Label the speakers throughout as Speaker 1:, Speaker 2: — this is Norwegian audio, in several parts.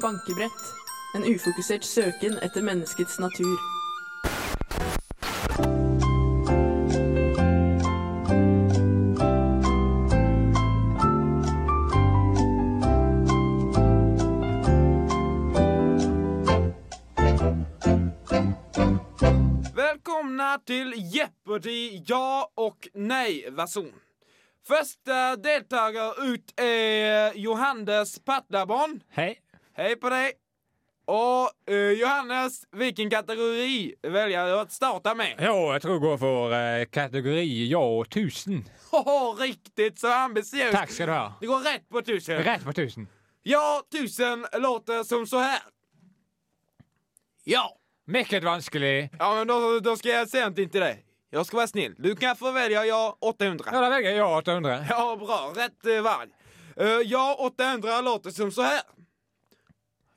Speaker 1: bankebrett. En ufokusert søken etter menneskets natur.
Speaker 2: Välkomna till Jeopardy ja och nej-version. Första deltagare ut är Johannes Patlabon.
Speaker 3: Hei.
Speaker 2: Hej på dig! Och eh, Johannes, vilken kategori väljer du att starta med?
Speaker 3: Jo, jeg tror jeg går for eh, kategori ja og 1000.
Speaker 2: Åh, riktigt så ambitiöst!
Speaker 3: Takk skal du ha.
Speaker 2: Det går rätt på tusen!
Speaker 3: Rett på 1000.
Speaker 2: Ja, tusen låter som så här. Ja!
Speaker 3: Meget vanskelig.
Speaker 2: Ja, men då, då ska jag säga någonting till dig. Jag ska vara snäll. Du kan få välja ja 800.
Speaker 3: Ja, da velger jeg ja 800.
Speaker 2: Ja, bra. Rätt eh, varg. Eh, ja, 800 låter som så här.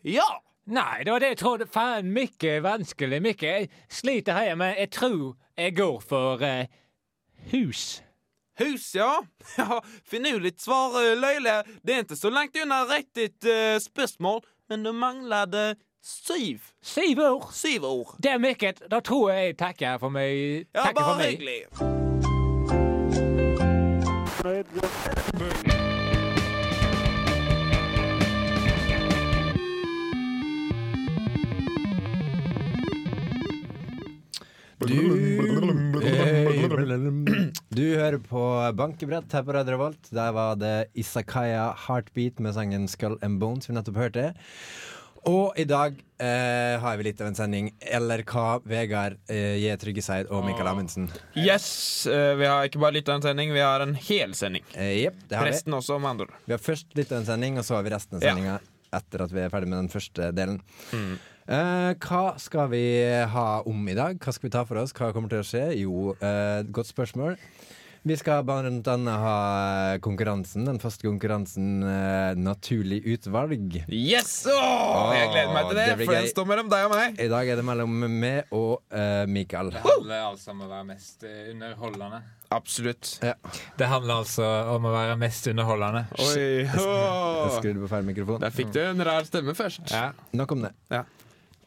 Speaker 2: Ja!
Speaker 3: Nei, det var det jeg trodde. Faen, mye vanskelig. Mye. Jeg sliter her, men jeg tror jeg går for eh, hus.
Speaker 2: Hus, ja. ja finurligt svar, eh, Löjle. Det är inte så långt undan riktigt eh, spörsmål, men du manglade syv.
Speaker 3: Syv år.
Speaker 2: Syv år.
Speaker 3: Det er mye. Da tror jeg jeg takker for meg.
Speaker 2: Ja,
Speaker 3: Takker
Speaker 2: bara
Speaker 3: for meg.
Speaker 2: hygglig.
Speaker 4: Du, du hører på bankebrett her på Radio Revolt. Der var det Isakaya Heartbeat med sangen Skull and Bones vi nettopp hørte. Og i dag eh, har vi litt av en sending. LRK, Vegard eh, J. Tryggeseid og Mikael Amundsen.
Speaker 2: Yes, eh, vi har ikke bare litt av en sending, vi har en hel sending.
Speaker 4: Eh, Jepp, det har vi.
Speaker 2: Resten også, med andre ord.
Speaker 4: Vi har først litt av en sending, og så har vi resten av
Speaker 2: Ja. Mm.
Speaker 4: sendinga etter at vi er ferdig med den første delen. Eh, hva skal vi ha om i dag? Hva skal vi ta for oss? Hva kommer til å skje? Jo, eh, godt spørsmål. Vi skal blant annet ha konkurransen, den første konkurransen eh, Naturlig utvalg.
Speaker 2: Yes! Åh, jeg gleder meg til det,
Speaker 4: det blir
Speaker 2: for den
Speaker 4: gøy.
Speaker 2: står mellom deg og meg.
Speaker 4: I dag er det mellom meg og eh, Mikael.
Speaker 5: Det handler altså om å være mest eh, underholdende.
Speaker 2: Absolutt.
Speaker 4: Ja,
Speaker 5: Det handler altså om å være mest underholdende.
Speaker 2: Oi.
Speaker 4: jeg
Speaker 2: åh.
Speaker 4: skrudde på feil mikrofon.
Speaker 2: Der fikk du en rar stemme først.
Speaker 5: Ja.
Speaker 4: Nok om det.
Speaker 2: Ja.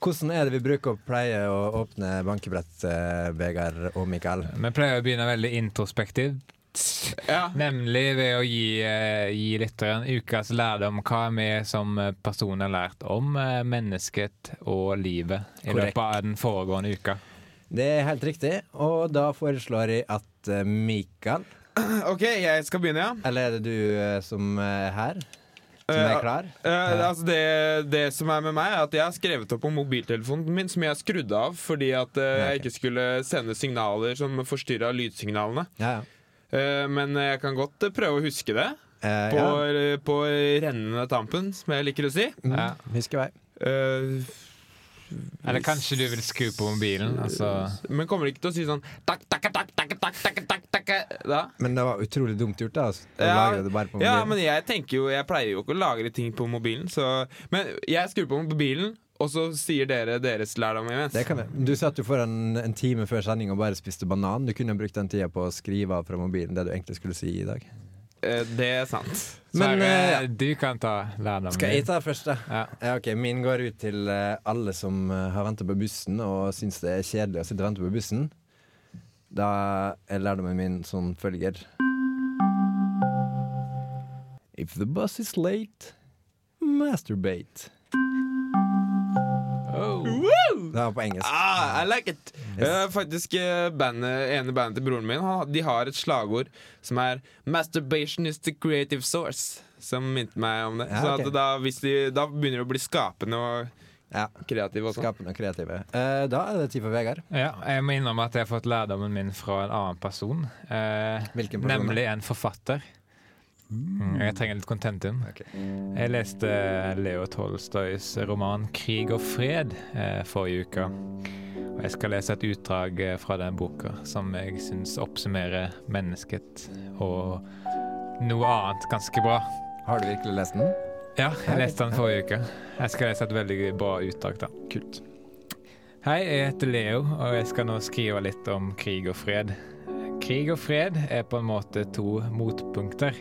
Speaker 4: Hvordan er det vi bruker å pleie å åpne bankebrett, eh, Vegard og Mikael?
Speaker 5: Vi pleier å begynne veldig introspektivt.
Speaker 2: Ja.
Speaker 5: Nemlig ved å gi, eh, gi lytteren ukas lærdom. Hva vi som personer har lært om eh, mennesket og livet i
Speaker 4: Korrekt.
Speaker 5: løpet av den foregående uka.
Speaker 4: Det er helt riktig, og da foreslår jeg at eh, Mikael
Speaker 2: OK, jeg skal begynne, ja.
Speaker 4: Eller er det du eh, som er her? Som
Speaker 2: Eh,
Speaker 4: er klar?
Speaker 2: Eh, altså det, det som er med meg, er at jeg har skrevet opp på mobiltelefonen min, som jeg skrudde av fordi at eh, jeg ikke skulle sende signaler som forstyrra lydsignalene.
Speaker 4: Ja, ja.
Speaker 2: Eh, men jeg kan godt eh, prøve å huske det.
Speaker 4: Eh,
Speaker 2: På,
Speaker 4: ja.
Speaker 2: eh, på rennende tampen, som jeg liker å si.
Speaker 4: Mm, Husker vei.
Speaker 2: Eh,
Speaker 5: Eller kanskje du vil skru på mobilen? Altså.
Speaker 2: men kommer ikke til å si sånn takk, takk, takk, takk, takk, takk, takk, takk, eh, da.
Speaker 4: Men det var utrolig dumt gjort, da. altså, Å
Speaker 2: Ja,
Speaker 4: lagre det bare på
Speaker 2: ja, men
Speaker 4: mobilen.
Speaker 2: jeg tenker jo Jeg pleier jo ikke å lagre ting på mobilen, så Men jeg skrur på mobilen, og så sier dere deres lærdom imens.
Speaker 4: det kan jeg. Du satt jo foran en time før sending og bare spiste banan. Du kunne brukt den tida på å skrive av fra mobilen det du egentlig skulle si i dag.
Speaker 2: Eh, det er sant.
Speaker 4: Men,
Speaker 5: Sverre,
Speaker 4: eh,
Speaker 5: du kan ta lærdommen.
Speaker 4: Skal jeg
Speaker 5: din.
Speaker 4: ta først, da? Ja.
Speaker 5: Ja.
Speaker 4: ok, Min går ut til eh, alle som eh, har venta på bussen og syns det er kjedelig å sitte og vente på bussen. Da er lærdommen min som følger. If the bus is late, masturbate. Det var på engelsk.
Speaker 2: Oh. Ah, I like it! Eh, faktisk, eh, bandet, ene bandet til broren min han, De har et slagord som er 'Masturbation is the creative source'. Som minte meg om det.
Speaker 4: Ja,
Speaker 2: Så
Speaker 4: ok.
Speaker 2: at da, hvis de, da begynner de å bli skapende og
Speaker 4: Ja,
Speaker 2: kreative. Og sånn.
Speaker 4: Skapende og kreative. Eh, da er det tid for Vegard.
Speaker 5: Ja, jeg må innrømme at jeg har fått lærdommen min fra en annen person. Eh,
Speaker 4: Hvilken person?
Speaker 5: nemlig en forfatter. Mm, jeg trenger litt contentum.
Speaker 4: Ok.
Speaker 5: Jeg leste Leo Tolstojs roman 'Krig og fred' eh, forrige uke. Og jeg skal lese et utdrag eh, fra den boka som jeg syns oppsummerer mennesket og noe annet ganske bra.
Speaker 4: Har du virkelig lest den?
Speaker 5: Ja, jeg leste den forrige uke. Jeg skal lese et veldig bra utdrag, da. Kult. Hei, jeg heter Leo, og jeg skal nå skrive litt om krig og fred. Krig og fred er på en måte to motpunkter,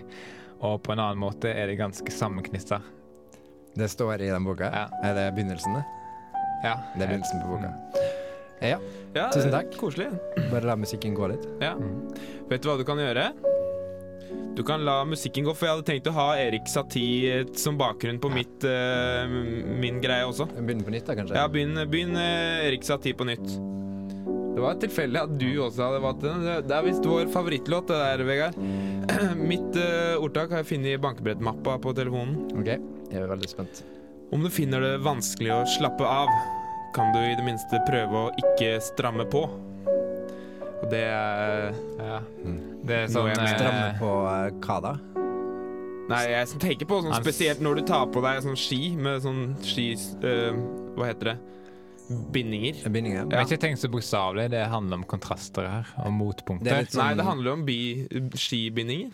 Speaker 5: og på en annen måte er de ganske sammenknytta.
Speaker 4: Det står i den boka.
Speaker 5: Ja.
Speaker 4: Er det begynnelsen, det?
Speaker 5: Ja.
Speaker 4: Det er begynnelsen på boka. Ja,
Speaker 2: Ja,
Speaker 4: Tusen
Speaker 2: eh,
Speaker 4: takk.
Speaker 2: Koselig.
Speaker 4: bare la musikken gå litt.
Speaker 2: Ja.
Speaker 4: Mm.
Speaker 2: Vet du hva du kan gjøre? Du kan la musikken gå, for jeg hadde tenkt å ha Erik Satie eh, som bakgrunn på mitt, eh, min greie også.
Speaker 4: Begynne på nytt, da, kanskje?
Speaker 2: Ja, begynn, begynn eh, Erik Satie på nytt. Det var tilfeldig at du også hadde valgt den. Det- Det er visst vår favorittlåt, det der, Vegard. Mitt eh, ordtak har jeg funnet i bankebrettmappa på telefonen.
Speaker 4: Ok, jeg er veldig spent.
Speaker 2: Om du finner det vanskelig å slappe av, kan du i det minste prøve å ikke stramme på. Og det er eh,
Speaker 5: ja. Det er
Speaker 2: Noe
Speaker 5: sånn
Speaker 2: jeg
Speaker 5: eh,
Speaker 4: Stramme på eh, hva da?
Speaker 2: Nei, jeg tenker på sånn
Speaker 5: Han s-
Speaker 2: spesielt når du tar på deg sånn ski med sånn ski... eh, hva heter det? Bindinger.
Speaker 4: Bindingen?
Speaker 5: Jeg har ikke tenkt så bokstavelig. Det handler om kontraster her, og
Speaker 4: Det er
Speaker 5: motpunkter.
Speaker 4: litt sånn-
Speaker 2: Nei, det handler jo om bi, skibindinger.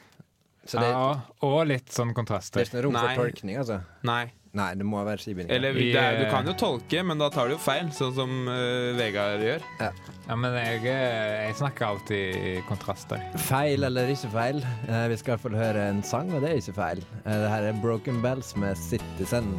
Speaker 4: Så det,
Speaker 5: ja, og litt sånn
Speaker 4: det er
Speaker 5: kontraster.
Speaker 4: ikke noe rom
Speaker 2: Nei.
Speaker 4: for tolkning, altså?
Speaker 2: Nei.
Speaker 4: Nei, det må være skibinding.
Speaker 2: Eller
Speaker 5: I,
Speaker 2: det er, du
Speaker 5: eh,
Speaker 2: kan jo tolke, men da tar du jo feil, sånn som eh, Vegard gjør.
Speaker 5: Ja, men jeg, eh, jeg snakker alltid i kontraster.
Speaker 4: Feil eller ikke feil. Eh, vi skal i hvert fall høre en sang, og det er ikke feil. Eh, det her er Broken Bells med Citizen.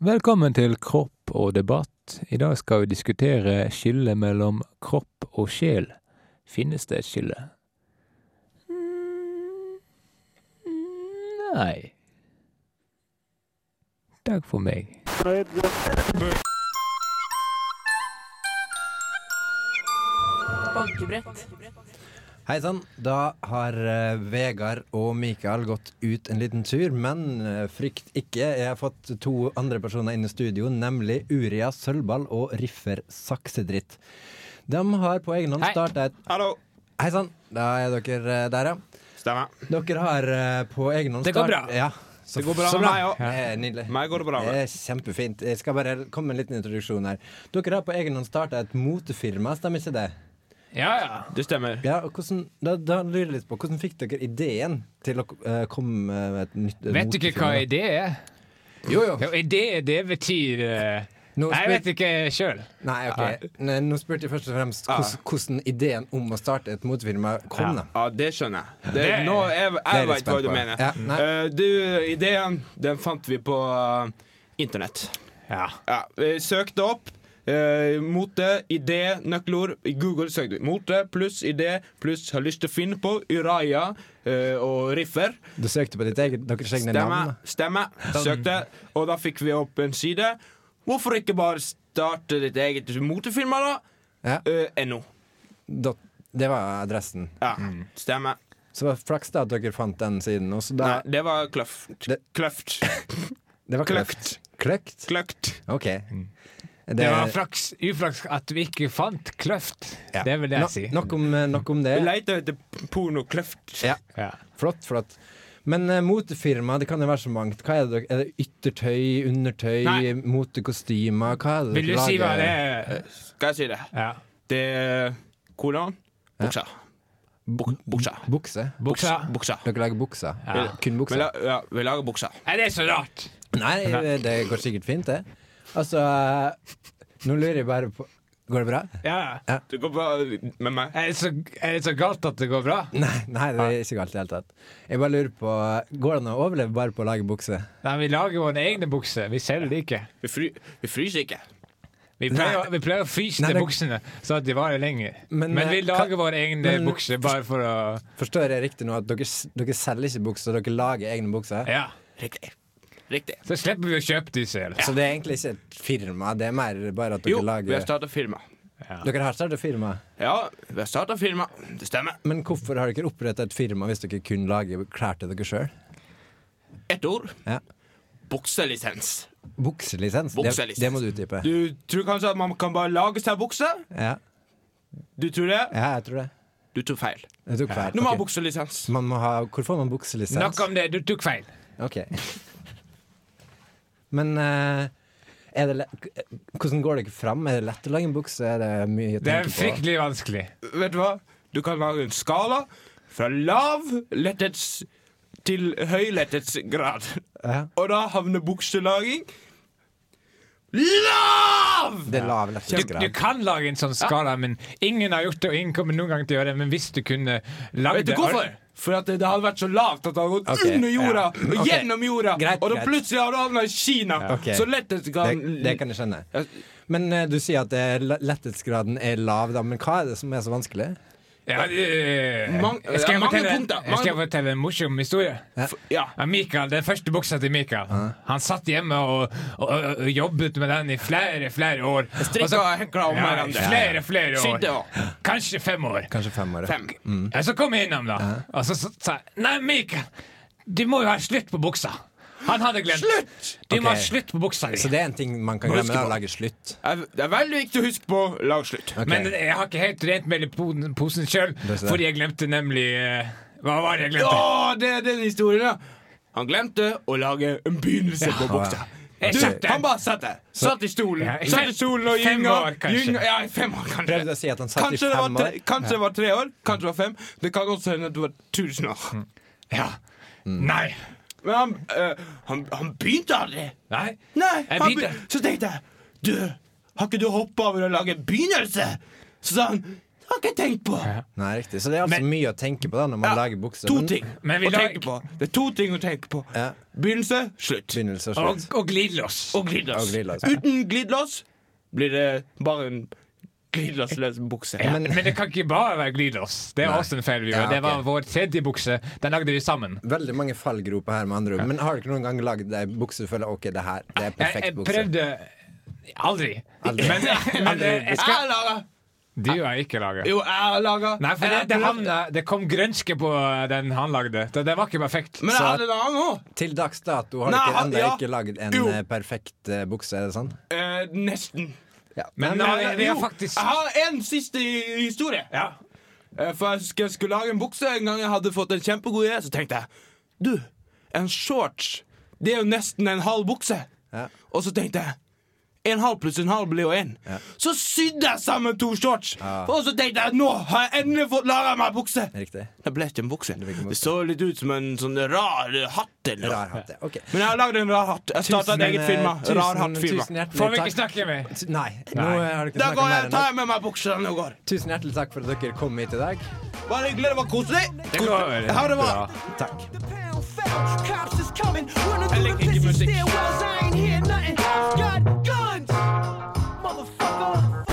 Speaker 5: Velkommen til Kropp og debatt. I dag skal vi diskutere skillet mellom kropp og sjel. Finnes det et skille? Mm, Nei. Takk for meg.
Speaker 1: Bankebrett.
Speaker 4: Hei sann. Da har eh, Vegard og Mikael gått ut en liten tur, men eh, frykt ikke. Jeg har fått to andre personer inn i studio, nemlig Uria Sølvball og Riffer Saksedritt. De har på egen hånd
Speaker 5: Hei.
Speaker 4: starta et
Speaker 2: Hallo!
Speaker 4: Hei sann, da er dere eh, der, ja.
Speaker 2: Stemmer.
Speaker 4: Dere har eh, på egen hånd
Speaker 5: Det går
Speaker 4: start-
Speaker 5: bra.
Speaker 4: Ja. Så,
Speaker 2: Det går bra
Speaker 4: så
Speaker 2: med meg også.
Speaker 4: Det er nydelig.
Speaker 2: Meg går det bra
Speaker 4: Det
Speaker 2: med.
Speaker 4: er kjempefint. Jeg skal bare komme med en liten introduksjon her. Dere har på egen hånd starta et motefirma, stemmer ikke det?
Speaker 5: Ja, ja.
Speaker 2: Det stemmer.
Speaker 4: Ja, og hvordan, da, da lurer jeg litt på, hvordan fikk dere ideen til å eh, komme med et nytt eh,
Speaker 5: Vet du ikke hva
Speaker 4: motefirma?
Speaker 5: idé er?
Speaker 4: Jo, jo.
Speaker 5: Jo, idé, det betyr eh,
Speaker 4: Nå
Speaker 5: Nei, jeg
Speaker 4: spør-
Speaker 5: vet ikke sjøl.
Speaker 4: Nei, ok. Nei, nå spurte jeg først og fremst hvordan, hvordan ideen om å starte et motefirma kom, da.
Speaker 2: Ah. Ja, det skjønner jeg. Det,
Speaker 5: Det-
Speaker 2: nå, jeg
Speaker 4: er
Speaker 2: jeg
Speaker 4: litt
Speaker 2: veit hva
Speaker 4: spent
Speaker 2: du
Speaker 4: på.
Speaker 2: mener.
Speaker 4: Ja, nei.
Speaker 2: Eh, du, ideen, den fant vi på eh, internett.
Speaker 5: Ja.
Speaker 2: Ja, eh, søk det opp. Eh, mote, idé, nøkkelord. I Google søk du. Mote pluss idé pluss har lyst til å finne på. Uraya eh, og Riffer.
Speaker 4: Du søkte på ditt eget, deres egne
Speaker 2: Stemme.
Speaker 4: navn? da.
Speaker 2: stemme. Søk det. Og da fikk vi opp en side. Hvorfor ikke bare starte ditt eget motefirma, da?
Speaker 4: Ja.
Speaker 2: Eh, NO.
Speaker 4: Dot- Det var adressen.
Speaker 2: Ja, stemme.
Speaker 4: Så det var flaks da at dere fant den siden. Og så Mm. da,
Speaker 2: Nei, det var kløft.
Speaker 4: Det-
Speaker 2: Kløft.
Speaker 4: det var kløkt.
Speaker 2: kløkt.
Speaker 4: Kløkt?
Speaker 2: Kløkt.
Speaker 4: OK.
Speaker 5: Det var flaks, uflaks at vi ikke fant kløft.
Speaker 4: Ja.
Speaker 5: Det vil jeg
Speaker 4: No-
Speaker 5: si.
Speaker 4: Nok om, eh, nok om det.
Speaker 2: Vi leita etter pornokløft.
Speaker 4: Ja,
Speaker 5: Ja.
Speaker 4: flott, flott. Men eh, motefirma, det kan jo være så mangt. Hva er det? dere- Er det yttertøy, undertøy,
Speaker 5: Nei.
Speaker 4: motekostymer? Hva er det
Speaker 5: Vil du
Speaker 4: dere
Speaker 5: si hva
Speaker 4: lager?
Speaker 5: det er?
Speaker 2: Skal jeg si det?
Speaker 5: Ja.
Speaker 2: Det er Hvordan? Buksa. Buk
Speaker 4: Mm.
Speaker 2: buksa.
Speaker 4: Bukse?
Speaker 5: Buksa.
Speaker 2: Buksa.
Speaker 4: Dere lager bukser?
Speaker 5: Ja.
Speaker 4: Kun
Speaker 2: Vi,
Speaker 4: bukser?
Speaker 2: la ja, vi lager buksa.
Speaker 5: Er det så rart?
Speaker 4: Nei, eh, det går sikkert fint, det. Altså Nå lurer jeg bare på Går det bra?
Speaker 5: Ja.
Speaker 2: Det går bra med meg.
Speaker 5: Er det, så, er det så galt at det går bra?
Speaker 4: Nei, nei, det er ikke galt i det hele tatt. Jeg bare lurer på Går det an å overleve bare på å lage bukser?
Speaker 5: Nei, Vi lager våre egne bukser. Vi selger de ikke.
Speaker 2: Vi, fry vi fryser ikke.
Speaker 5: Vi pleier, vi pleier å fryse
Speaker 4: Nei,
Speaker 5: til
Speaker 4: det-
Speaker 5: buksene, så at de varer lenger.
Speaker 4: Men,
Speaker 5: Men, vi
Speaker 4: eh,
Speaker 5: lager
Speaker 4: kan-
Speaker 5: våre egne
Speaker 4: men-
Speaker 5: bukser bare for å
Speaker 4: Forstår jeg riktig nå at dere, s- dere selger ikke bukser, dere lager egne bukser?
Speaker 5: Ja.
Speaker 2: Riktig. Riktig.
Speaker 5: Så slipper vi å kjøpe de selv.
Speaker 4: Så det er egentlig ikke et firma, det er mer bare at dere
Speaker 2: Jo, vi har
Speaker 4: lager
Speaker 2: starta firma.
Speaker 4: Dere har startet firma,
Speaker 2: Ja, vi har starta firma. Det stemmer.
Speaker 4: men hvorfor har dere opprettet et firma hvis dere kun lager klær til dere sjøl?
Speaker 2: Ett ord.
Speaker 4: Ja.
Speaker 2: Bukselisens.
Speaker 4: Bukselisens, det,
Speaker 2: Bukselisens.
Speaker 4: det må du utdype.
Speaker 2: Du tror kanskje at man kan bare lage seg bukse?
Speaker 4: Ja.
Speaker 2: Du tror det?
Speaker 4: ja, jeg tror det.
Speaker 2: Du tok feil.
Speaker 4: Jeg tok feil.
Speaker 2: Du må ha
Speaker 4: Ok.
Speaker 2: bukselisens.
Speaker 4: Man må ha, hvor får man bukselisens?
Speaker 5: Nok om det. Du tok feil.
Speaker 4: Ok. Men eh, er det le- hvordan går dere fram? Er det lett å lage en bukse? Er det mye å
Speaker 5: Det er
Speaker 4: tenke på?
Speaker 5: fryktelig vanskelig.
Speaker 2: Vet du hva? Du kan lage en skala fra lav letthets til høy letthetsgrad.
Speaker 4: Ja.
Speaker 2: Og da havner bukselaging Lavt!
Speaker 5: lav!
Speaker 4: Det er lav
Speaker 5: Du, du
Speaker 4: lettighetsgrad.
Speaker 5: kan lage en sånn skala, men ingen har gjort det, og ingen kommer noen gang til å gjøre det. Men hvis du kunne lagd
Speaker 2: Vet du
Speaker 5: det
Speaker 2: hvorfor? For at det, det hadde vært så lavt at det hadde gått
Speaker 4: Ok,
Speaker 2: under jorda
Speaker 4: ja.
Speaker 2: og
Speaker 4: Ok.
Speaker 2: gjennom jorda.
Speaker 4: Greit,
Speaker 2: og da
Speaker 4: greit.
Speaker 2: plutselig hadde du havna i Kina.
Speaker 4: Ok.
Speaker 2: Så lettest
Speaker 4: Det,
Speaker 2: kan
Speaker 4: det kan jeg skjønne.
Speaker 2: Ja.
Speaker 4: Men eh, du sier at eh, le- lettighetsgraden er lav, da. Men hva er det som er så vanskelig?
Speaker 5: Ja, eh,
Speaker 2: Mang-
Speaker 5: jeg skal
Speaker 2: ja,
Speaker 5: jeg
Speaker 2: mange
Speaker 5: fortelle,
Speaker 2: punkter,
Speaker 5: jeg skal
Speaker 2: mange-
Speaker 5: fortelle en morsom historie.
Speaker 2: F- Ja.
Speaker 5: Ja, Mikael, Den første buksa til Mikael. Han satt hjemme og, og, og, og jobbet med den i flere flere år.
Speaker 2: Strikka
Speaker 5: Og så-
Speaker 2: og hekla om
Speaker 5: ja,
Speaker 2: hverandre.
Speaker 5: Flere flere
Speaker 2: Sydde
Speaker 5: år.
Speaker 2: og-
Speaker 5: Kanskje fem år.
Speaker 4: Kanskje fem år.
Speaker 2: Fem.
Speaker 4: Mm.
Speaker 5: Ja, så kom jeg innom, da. Og så så- sa jeg Nei, Mikael, du må jo ha slutt på buksa. Han hadde glemt. Slutt! Du må ha
Speaker 4: Ok.
Speaker 5: slutt på buksa di.
Speaker 4: Så det er en ting man kan
Speaker 2: Må
Speaker 4: glemme,
Speaker 2: huske
Speaker 4: da, å
Speaker 2: på.
Speaker 4: lage slutt.
Speaker 2: Er- Det er veldig viktig å huske på lag slutt.
Speaker 4: Ok.
Speaker 5: Men jeg har ikke helt rent mel i po- posen sjøl,
Speaker 4: er så det.
Speaker 5: fordi jeg glemte nemlig eh, Hva var det jeg
Speaker 2: Å,
Speaker 5: glemte?
Speaker 2: det er den historien, ja. Han glemte å lage en begynnelse på buksa.
Speaker 5: Jeg
Speaker 2: Du,
Speaker 5: satt der.
Speaker 2: han bare satt der. Satt i stolen.
Speaker 5: Ja, i
Speaker 2: Satt
Speaker 5: fem-
Speaker 2: i stolen og
Speaker 5: fem
Speaker 2: gynga.
Speaker 5: år, kanskje.
Speaker 2: gynga- Ja, i fem år, kanskje.
Speaker 4: Prøvde å si at han satt i
Speaker 2: Kanskje det, var
Speaker 4: fem
Speaker 2: tre,
Speaker 4: år.
Speaker 2: kanskje det var tre år, kanskje det var fem. Det kan også hende det var tusen år.
Speaker 4: Mm.
Speaker 5: Ja. Nei.
Speaker 2: Men han, eh, han, han begynte aldri.
Speaker 5: Nei.
Speaker 2: Nei,
Speaker 5: Jeg
Speaker 2: han
Speaker 5: begynte-
Speaker 2: be- Så tenkte jeg, du, har ikke du hoppet over å lage en begynnelse? Så sa han, det har ikke jeg tenkt på.
Speaker 4: Nei, riktig. Så det er altså
Speaker 5: Men-
Speaker 4: mye å tenke på da når man
Speaker 2: Ja,
Speaker 4: lager bukser.
Speaker 2: To
Speaker 4: men-
Speaker 2: ting
Speaker 5: Men vi
Speaker 2: å
Speaker 5: lag-
Speaker 2: tenke på. Det er to ting å tenke på.
Speaker 4: Ja.
Speaker 2: Begynnelse, slutt.
Speaker 4: Begynnelse og
Speaker 5: Og,
Speaker 4: slutt.
Speaker 5: og glidelås.
Speaker 2: Og glidelås.
Speaker 4: Og glidelås.
Speaker 2: Uten glidelås blir det bare en glidelåsløs bukse.
Speaker 5: Ja,
Speaker 4: Men-
Speaker 5: men, det kan ikke bare være glidelås. Det var også en feil vi gjorde.
Speaker 4: Ja,
Speaker 5: Det var
Speaker 4: ok.
Speaker 5: vår tredje bukse. Den lagde vi sammen.
Speaker 4: Veldig mange fallgroper her, med andre ord. Men har du ikke noen gang lagd ei bukse du føler ok, det her det er
Speaker 5: Jeg, jeg
Speaker 4: perfekt bukse?
Speaker 5: prøvde Aldri.
Speaker 4: Aldri.
Speaker 5: Men, men eh, jeg
Speaker 2: Jeg
Speaker 5: skal
Speaker 2: har laget.
Speaker 5: Du har ikke laga.
Speaker 2: Jo, jeg har laget.
Speaker 5: Nei, for
Speaker 2: Jeg
Speaker 5: det,
Speaker 2: har
Speaker 5: det,
Speaker 2: prøvd.
Speaker 5: havna- det kom grønske på eh, den han lagde. Så det var ikke perfekt.
Speaker 2: Men jeg
Speaker 4: Så-
Speaker 2: hadde en annen også.
Speaker 4: Til dags dato har du
Speaker 2: Nei,
Speaker 4: ikke
Speaker 2: han-
Speaker 4: ennå
Speaker 2: ja.
Speaker 4: ikke lagd en
Speaker 2: Jo.
Speaker 4: eh, perfekt eh, bukse, er det sånn?
Speaker 2: Eh, nesten.
Speaker 4: Ja. eh,
Speaker 5: Men
Speaker 4: Nei,
Speaker 5: nei, vi har
Speaker 2: Jo,
Speaker 5: faktisk
Speaker 2: Jeg har en siste i- historie.
Speaker 5: Ja.
Speaker 2: Eh, For jeg skulle, skulle lage en bukse en gang jeg hadde fått en kjempegod idé, så tenkte jeg Du, en shorts, det er jo nesten en halv bukse.
Speaker 4: Ja.
Speaker 2: Og så tenkte jeg en halv pluss en halv blir jo én. Så sydde jeg sammen to shorts! Og så tenkte jeg nå har jeg endelig fått laga meg bukse!
Speaker 4: Riktig.
Speaker 2: Det ble ikke en bukse. Det,
Speaker 4: ble ikke en bukse.
Speaker 2: så litt ut som en sånn rar eh, hatt eller noe.
Speaker 4: Rar hatt, ja. Ok.
Speaker 2: Men jeg har lagd en rar hatt. Jeg starta et
Speaker 4: Tusen,
Speaker 2: eget
Speaker 4: eh,
Speaker 2: firma.
Speaker 4: tusen-
Speaker 2: Rar hatt-firma.
Speaker 4: Tusen hjertelig
Speaker 5: Får vi ikke
Speaker 4: takk.
Speaker 5: snakke med?
Speaker 4: Tu- Nei, nå
Speaker 5: Nei.
Speaker 4: eh, har du ikke
Speaker 2: Da
Speaker 4: snakka
Speaker 2: går jeg,
Speaker 4: mer enn
Speaker 2: tar
Speaker 4: nok.
Speaker 2: jeg med meg buksene og går.
Speaker 4: Tusen hjertelig takk for at dere kom hit i dag.
Speaker 2: Bare hyggelig. Det var koselig.
Speaker 5: Det går
Speaker 2: Ha det bra.
Speaker 5: bra.
Speaker 4: Takk.
Speaker 6: The pound fell. Cops is coming. Running
Speaker 2: I
Speaker 6: through
Speaker 2: like
Speaker 6: the
Speaker 2: indie
Speaker 6: busy
Speaker 2: music.
Speaker 6: stairwells. I ain't hear nothing. I've got guns, motherfucker.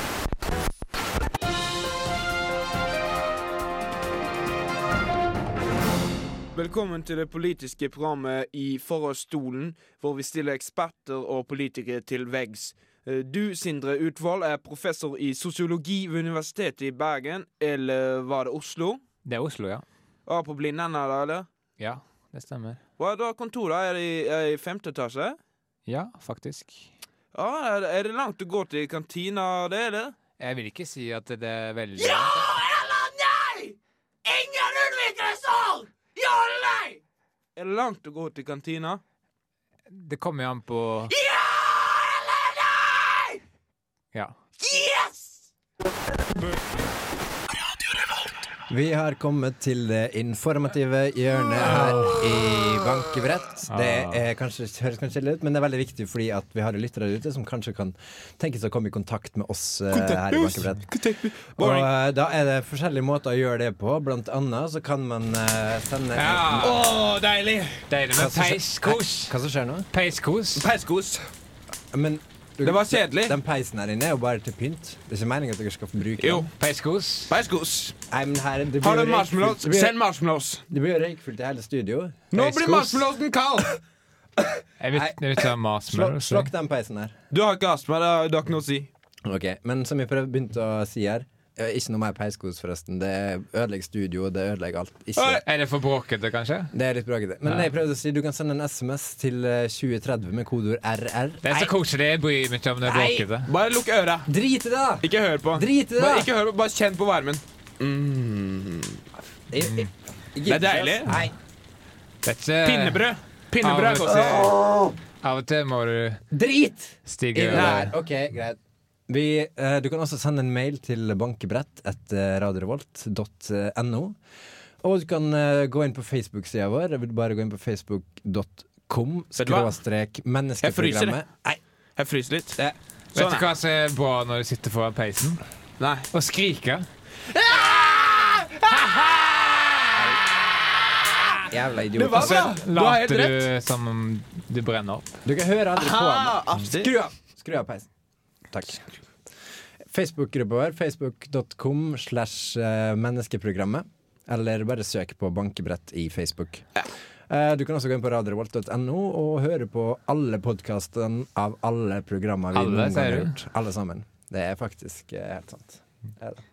Speaker 2: Velkommen til det politiske programmet i Forhåndsstolen, hvor vi stiller eksperter og politikere til veggs. Eh, Du, Sindre Utvold, er professor i sosiologi ved Universitetet i Bergen, eller var det Oslo?
Speaker 7: Det er Oslo, ja.
Speaker 2: Ja, på Blindern, eller? eller?
Speaker 7: Ja, det stemmer.
Speaker 2: Hva er da kontoret? Er det i, er det i femte etasje?
Speaker 7: Ja, faktisk.
Speaker 2: Ja, er det- er det langt å gå til kantina, det, eller?
Speaker 7: Jeg vil ikke si at det er veldig
Speaker 2: Er det langt å gå til kantina?
Speaker 7: Det kommer jo an på Ja.
Speaker 4: Vi har kommet til det informative hjørnet her i Bankebrett.
Speaker 2: Ah.
Speaker 4: Det er kanskje, høres kanskje litt ut, men det er veldig viktig fordi at vi har lyttere der ute som kanskje kan tenkes å komme i kontakt med oss eh, her i Bankebrett. Og
Speaker 2: Boring.
Speaker 4: eh, da er det forskjellige måter å gjøre det på. Blant annet så kan man eh, sende
Speaker 5: Ja.
Speaker 2: Å, deilig!
Speaker 5: Deilig
Speaker 4: Hva
Speaker 5: med
Speaker 4: som skje-
Speaker 5: peiskos.
Speaker 4: Hva som skjer nå?
Speaker 5: Peiskos.
Speaker 2: Peiskos.
Speaker 4: Men du-
Speaker 2: Det var kjedelig.
Speaker 4: Den peisen her inne er jo bare til pynt. Det er ikke meningen at dere skal få bruke
Speaker 2: Jo.
Speaker 4: den.
Speaker 5: Peiskos.
Speaker 2: Peiskos.
Speaker 4: Nei, men her, det blir
Speaker 2: Har du
Speaker 4: jo
Speaker 2: marshmallows?
Speaker 4: røykfullt- det blir-
Speaker 2: Send marshmallows.
Speaker 4: Det blir jo røykfullt i hele studio.
Speaker 2: Nå
Speaker 5: Peiskos.
Speaker 2: blir marshmallowsen kald!
Speaker 7: Jeg vil, jeg vil ta
Speaker 4: Slå-
Speaker 7: marshmallows.
Speaker 4: Slokk den peisen her.
Speaker 2: Du har ikke astma, det har du har ikke noe å si.
Speaker 4: Ok, Men som jeg prøv- begynte å si her eh, Ikke noe mer peiskos, forresten. Det ødelegger studio, det ødelegger alt. Ikke.
Speaker 2: Oi.
Speaker 7: Er det for bråkete, kanskje?
Speaker 4: Det er litt bråkete. Men jeg prøvde å si du kan sende en SMS til eh, 2030 med kodeord RR.
Speaker 7: Det er så koselig. Jeg bryr meg ikke om det er bråkete.
Speaker 2: Bare lukk øra.
Speaker 4: Drit i det, da!
Speaker 2: Ikke hør på.
Speaker 4: Drit i det,
Speaker 2: Bare,
Speaker 4: da!
Speaker 2: ikke hør på, bare kjenn på varmen.
Speaker 4: Jeg- jeg- jeg
Speaker 2: Det er
Speaker 4: gidder ikke,
Speaker 2: deilig.
Speaker 4: ass. Nei.
Speaker 7: Dette,
Speaker 2: Pinnebrød. Pinnebrød er godt.
Speaker 7: Av og til må du
Speaker 4: Drit!
Speaker 7: stige
Speaker 4: I det
Speaker 7: over.
Speaker 4: der. Ok, greit. Vi, eh, du kan også sende en mail til bankebrett eh, etter radiorevolt.no. Og du kan eh, gå inn på Facebook-sida vår. Jeg vil bare gå inn på facebook.com
Speaker 2: du hva?
Speaker 4: skråstrek
Speaker 2: Jeg fryser, jeg.
Speaker 4: menneskeprogrammet. Nei,
Speaker 2: Jeg fryser litt.
Speaker 4: det,
Speaker 5: Vet
Speaker 7: Sånn,
Speaker 5: du hva som er bra når du sitter foran peisen?
Speaker 7: Nei.
Speaker 5: Å skrike.
Speaker 4: Jævla
Speaker 7: Men hva
Speaker 4: idiot. Altså,
Speaker 7: da? Du har helt
Speaker 5: Later
Speaker 7: rett.
Speaker 5: du som om du brenner opp.
Speaker 4: Du kan høre aldri på han.
Speaker 7: artig.
Speaker 4: Skru av! Skru av peisen. Takk. Facebook-gruppa vår, facebook.com slash eh, menneskeprogrammet. Eller bare søk på bankebrett i Facebook. Eh, Du kan også gå inn på radiorevolt.no og høre på alle podkastene av alle programmer vi
Speaker 5: Alle,
Speaker 4: noen gang
Speaker 5: sier
Speaker 4: har
Speaker 5: du?
Speaker 4: gjort. Alle sammen. Det er faktisk eh, helt sant. Det er det.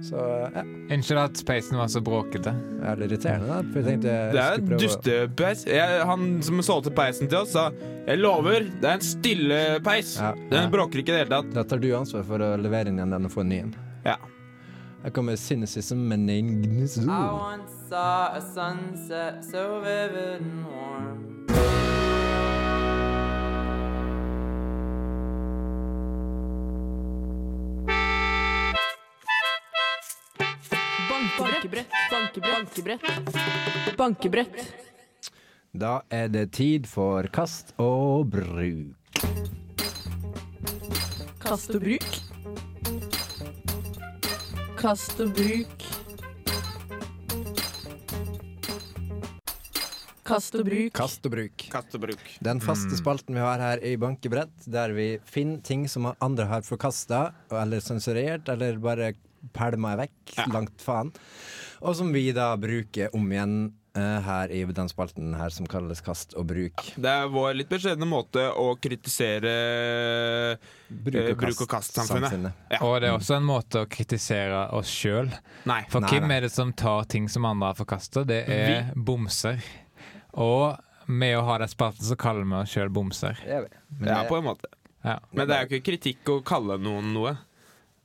Speaker 4: Så ja,
Speaker 5: Unnskyld at peisen var så bråkete.
Speaker 4: det er litt irriterende, da. For jeg tenkte jeg
Speaker 7: Det er
Speaker 4: skulle prøve å-
Speaker 7: dustepeis. Jeg- Han som solgte peisen til oss, sa 'Jeg lover, det er en stille peis'.
Speaker 4: Ja.
Speaker 7: Den bråker ikke i det hele tatt.
Speaker 4: Da tar du ansvar for å levere inn igjen den og få en ny en.
Speaker 7: Ja.
Speaker 4: Her kommer Cynicism med Ningnizu.
Speaker 8: I once saw a sunset so vivid and warm.
Speaker 1: Bankebrett. Bankebrett. Bankebrett. Bankebrett.
Speaker 4: Da er det tid for kast og bruk.
Speaker 1: Kast og bruk. Kast og bruk. Kast og bruk.
Speaker 4: Kast og bruk.
Speaker 7: Kast og bruk.
Speaker 4: Den faste spalten vi har her i Bankebrett, der vi finner ting som andre har forkasta eller sensurert, eller bare pælma vekk langt faen, og som vi da bruker om igjen eh, her i den spalten her som kalles kast og bruk.
Speaker 7: Det er vår litt beskjedne måte å kritisere Eh, bruk og kast-samfunnet.
Speaker 4: samfunnet.
Speaker 7: Ja.
Speaker 5: Og det er også en måte å kritisere oss sjøl.
Speaker 7: Nei.
Speaker 5: For
Speaker 4: Nei,
Speaker 5: hvem
Speaker 4: nei.
Speaker 5: er det som tar ting som andre har forkasta? Det er bomser. Og med å ha den spalten, så kaller vi oss sjøl bomser.
Speaker 4: Det er vi. Men eh,
Speaker 7: Ja,
Speaker 4: det-
Speaker 7: på en måte.
Speaker 5: Ja.
Speaker 7: Men det er jo ikke kritikk å kalle noen noe,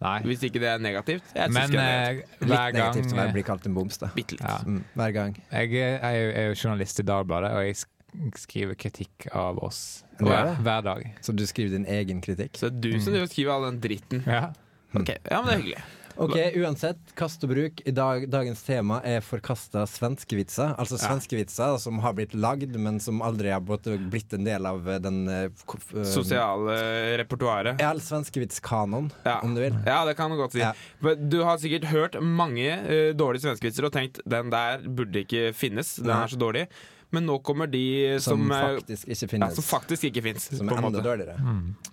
Speaker 5: Nei.
Speaker 7: hvis ikke det er negativt. Jeg synes
Speaker 5: Men
Speaker 7: ikke det er negativt.
Speaker 5: eh, hver
Speaker 4: Litt
Speaker 5: gang
Speaker 4: negativt å
Speaker 5: eh,
Speaker 4: være- bli kalt en boms, da.
Speaker 7: Bitte litt.
Speaker 5: ja.
Speaker 4: Mm, hver gang.
Speaker 5: Jeg er, er, jo, er jo journalist i Dagbladet, og jeg sk- skriver kritikk av oss
Speaker 4: Du er
Speaker 5: hver,
Speaker 4: det?
Speaker 5: hver dag.
Speaker 4: Så du skriver din egen kritikk.
Speaker 7: Så det er du
Speaker 4: mm.
Speaker 7: som driver og skriver all den dritten.
Speaker 5: Ja.
Speaker 7: Ok, Ja, men det er hyggelig.
Speaker 4: Ok, uansett, kast og bruk. I dag, dagens tema er forkasta svenskevitser. Altså svenskevitser som har blitt lagd, men som aldri har både blitt en del av eh, den eh, ko- eh,
Speaker 7: Sosiale repertoaret.
Speaker 4: Ja, eller svenskevitskanon,
Speaker 7: Ja.
Speaker 4: om du vil.
Speaker 7: Ja, det kan du godt si.
Speaker 4: Ja.
Speaker 7: Men Du har sikkert hørt mange eh, dårlige svenskevitser og tenkt den der burde ikke finnes, den
Speaker 4: Nei.
Speaker 7: er så dårlig. Men nå kommer de som,
Speaker 4: Som,
Speaker 7: eh,
Speaker 4: faktisk ikke
Speaker 7: ja,
Speaker 4: finnes.
Speaker 7: som faktisk ikke fins.
Speaker 4: som er enda dårligere.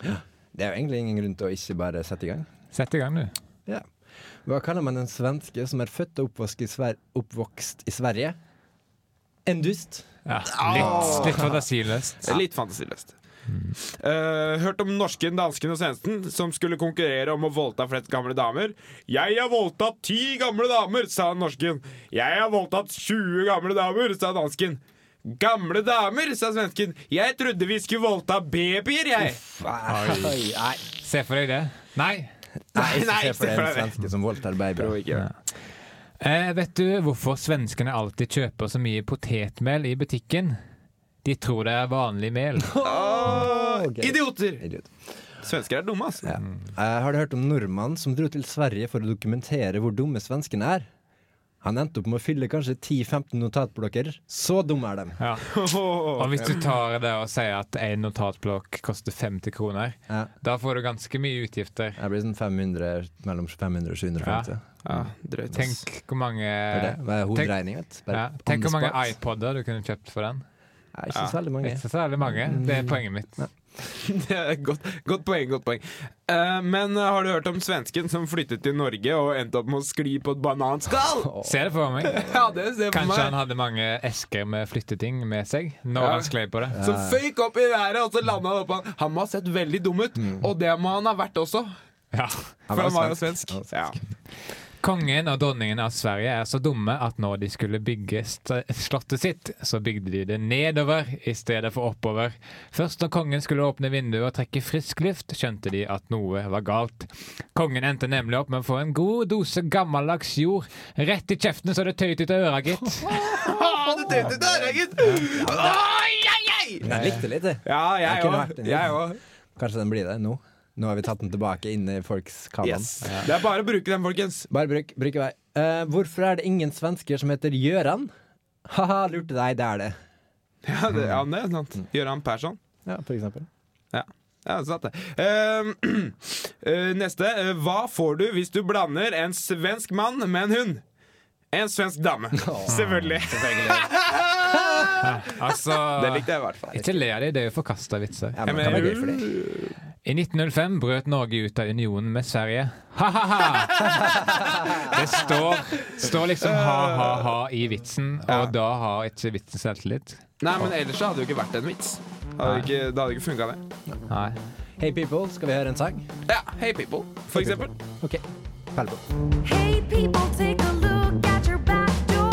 Speaker 4: Ja. Det er jo egentlig ingen grunn til å ikke bare sette i gang.
Speaker 5: Sett i gang, du.
Speaker 4: Ja. Hva kaller man en svenske som er født og oppvokst i, Sver oppvokst i Sverige? En dust.
Speaker 5: Ja. Litt, litt fantasiløst.
Speaker 7: Litt fantasiløst. Eh, hørt om norsken, dansken og svensken som skulle konkurrere om å voldta flest gamle damer. 'Jeg har voldtatt ti gamle damer', sa norsken. 'Jeg har voldtatt 20 gamle damer', sa dansken. 'Gamle damer', sa svensken. 'Jeg trodde vi skulle voldta babyer, jeg'.
Speaker 4: Oi, nei.
Speaker 5: Se for deg det. Nei.
Speaker 4: Nei,
Speaker 7: Nei,
Speaker 4: se for deg en svenske som voldtar babyer.
Speaker 7: Ja.
Speaker 5: Eh, vet du hvorfor svenskene alltid kjøper så mye potetmel i butikken? De tror det er vanlig mel.
Speaker 4: Ok.
Speaker 7: Idioter!
Speaker 4: Idiot.
Speaker 7: Svensker er dumme, altså.
Speaker 4: Ja. Eh, har du hørt om nordmannen som dro til Sverige for å dokumentere hvor dumme svenskene er? Han endte opp med å fylle kanskje 10-15 notatblokker. Så dumme er de!
Speaker 5: Ja. Og hvis du tar det og sier at en notatblokk koster 50 kroner,
Speaker 4: Ja.
Speaker 5: da får du ganske mye utgifter.
Speaker 4: Jeg blir sånn 500, mellom 500 og 750.
Speaker 7: Ja, drøyt. ass.
Speaker 5: Tenk hvor mange
Speaker 4: For det var hovedregning, vet du. Bare
Speaker 5: eh, ja,
Speaker 4: on
Speaker 5: Tenk
Speaker 4: the
Speaker 5: hvor mange
Speaker 4: spot.
Speaker 5: iPoder du kunne kjøpt for den.
Speaker 4: Nei, Ikke så veldig mange. Mm.
Speaker 5: Ikke så særlig mange. Det er poenget mitt.
Speaker 7: Det er et godt, godt poeng. godt poeng Eh, Men eh, har du hørt om svensken som flyttet til Norge og endte opp med å skli på et bananskall?
Speaker 5: Se det for meg.
Speaker 7: Ja, det ser jeg for
Speaker 5: Kanskje han
Speaker 7: meg.
Speaker 5: hadde mange esker med flytteting med seg når
Speaker 7: Ja.
Speaker 5: han sklei på det.
Speaker 7: Som
Speaker 4: Eh.
Speaker 7: føyk opp i været, og så landa han oppå han. Han må ha sett veldig dum ut, og det må han ha vært også.
Speaker 5: Ja.
Speaker 7: For han var jo svensk.
Speaker 4: Han Mm. var
Speaker 7: Ja.
Speaker 5: Kongen og dronningen av Sverige er så dumme at når de skulle bygge st- slottet sitt, så bygde de det nedover i stedet for oppover. Først når kongen skulle åpne vinduet og trekke frisk luft, skjønte de at noe var galt. Kongen endte nemlig opp med å få en god dose gammeldags jord rett i kjeften så det tøyt ut av øra, gitt.
Speaker 7: Ah, du tenkte det, der, gitt! Ah, jeg, jeg!
Speaker 4: Men jeg likte litt, det.
Speaker 7: Ja,
Speaker 4: Det
Speaker 7: jeg
Speaker 4: kunne vært
Speaker 7: òg.
Speaker 4: en
Speaker 7: Jeg
Speaker 4: liten.
Speaker 7: òg.
Speaker 4: Kanskje den blir det nå. Nå har vi tatt den tilbake inn i folks kanon.
Speaker 7: Yes. Det er bare å bruke den, folkens.
Speaker 4: Bare bruk, bruk i vei. Eh, hvorfor er det ingen svensker som heter Gjøran? Ha-ha, lurte deg, det er det. Mm.
Speaker 7: Ja, det, ja, det er sant. Gøran Persson.
Speaker 4: Ja, for eksempel.
Speaker 7: Ja. Ja, satt det. Ehm, eh, neste. Eh, Hva får du hvis du blander en svensk mann med en hund? En svensk dame. Selvfølgelig.
Speaker 5: Altså
Speaker 7: Det likte jeg i hvert fall.
Speaker 5: Ikke le av dem, det er jo forkasta vitser.
Speaker 4: Ja, men, det kan være gøy for deg.
Speaker 5: I 1905 brøt Norge ut av unionen med Sverige. Ha-ha-ha! Det står, står liksom ha-ha-ha i vitsen,
Speaker 7: Ja.
Speaker 5: og da har ikke vitsen selvtillit.
Speaker 7: Nei, men ellers så hadde det jo ikke vært en vits. Hadde
Speaker 5: Nei.
Speaker 7: ikke, det hadde ikke funka, det.
Speaker 5: Nei.
Speaker 4: Hey people, skal vi høre en sang?
Speaker 7: Ja, Hey People, for eksempel.
Speaker 4: OK. Pelbo.
Speaker 9: Hey people, take a look at your back door.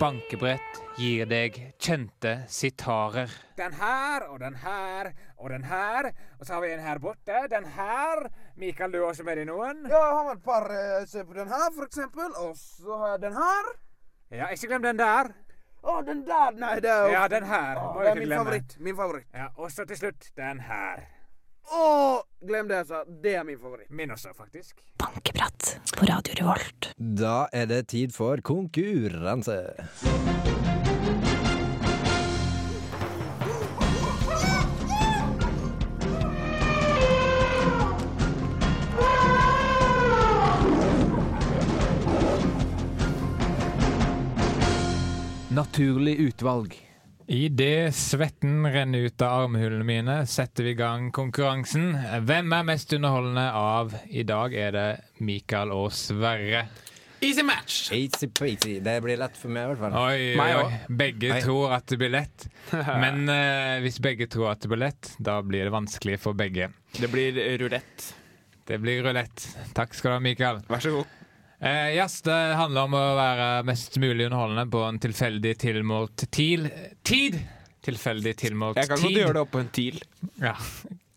Speaker 10: Bankebrett gir deg kjente sitarer.
Speaker 11: Den her og den her og den her. Og så har vi en her borte. Den her. Mikael, du også med deg noen?
Speaker 2: Ja, jeg har med et par eh, Se på den her, for eksempel. Og så har jeg den her.
Speaker 11: Ja, ikke glem den der.
Speaker 2: Å, den der! Nei, det er jo
Speaker 11: Ja, den her. Må jo
Speaker 2: det er
Speaker 11: ikke
Speaker 2: min
Speaker 11: glemme.
Speaker 2: favoritt. Min favoritt.
Speaker 11: Ja, og så til slutt den her.
Speaker 2: Å, glem det, jeg sa. Det er min favoritt.
Speaker 11: Min også, faktisk.
Speaker 12: Bankeprat på Radio Revolt.
Speaker 4: Da er det tid for konkurranse.
Speaker 11: Naturlig utvalg.
Speaker 5: Idet svetten renner ut av armhulene mine, setter vi i gang konkurransen. Hvem er mest underholdende av I dag er det Mikael og Sverre.
Speaker 7: Easy match!
Speaker 4: Easy-peasy. Det blir lett for meg, i hvert fall.
Speaker 5: Oi, oi,
Speaker 7: Meg
Speaker 5: oi.
Speaker 7: også.
Speaker 5: Begge
Speaker 4: Nei.
Speaker 5: tror at det blir lett. Men eh, hvis begge tror at det blir lett, da blir det vanskelig for begge.
Speaker 7: Det blir rulett.
Speaker 5: Det blir rulett. Takk skal du ha, Mikael.
Speaker 7: Vær så god.
Speaker 5: Eh, yes, det handler om å være mest mulig underholdende på en tilfeldig tilmålt til, tid. Tilfeldig tilmålt
Speaker 7: Jeg kan
Speaker 5: tid.
Speaker 7: godt gjøre det oppå en TIL.
Speaker 5: Ja.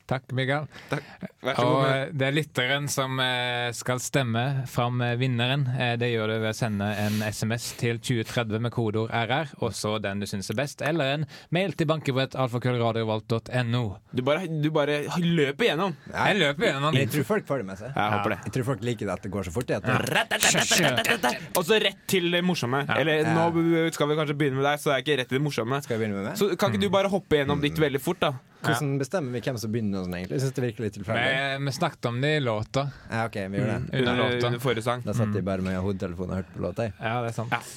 Speaker 5: Takk, Mikael.
Speaker 7: Vær så
Speaker 5: Og
Speaker 7: god.
Speaker 5: eh, det er lytteren som eh, skal stemme fram eh, vinneren. Eh, Det gjør du ved å sende en SMS til 2030 med kodeord RR, og så den du syns er best, eller en mail til bankebrettalfakrøllradiovolt.no.
Speaker 7: Du bare, du bare løper gjennom.
Speaker 5: Jeg løper gjennom.
Speaker 4: Jeg tror folk får det med seg.
Speaker 7: Jeg håper det.
Speaker 4: Jeg tror folk liker det at det går så fort. det At
Speaker 7: Og så rett til det morsomme. Eller
Speaker 4: Ja.
Speaker 7: nå skal vi kanskje begynne med deg, så det er ikke rett til det morsomme.
Speaker 4: Skal Mm. vi begynne med meg?
Speaker 7: Så kan ikke du bare hoppe gjennom ditt veldig fort, da?
Speaker 4: Hvordan bestemmer vi hvem som begynner? og Sånn, egentlig? Jeg synes det virker litt tilfeldig.
Speaker 5: Vi, vi snakket om det i låta.
Speaker 4: Mm, Ja, Mm. OK, vi gjør det.
Speaker 5: Under låta.
Speaker 7: under forrige sang.
Speaker 4: Da satt de bare med hodetelefonen og hørte på låta. jeg.
Speaker 5: Ja, det er sant.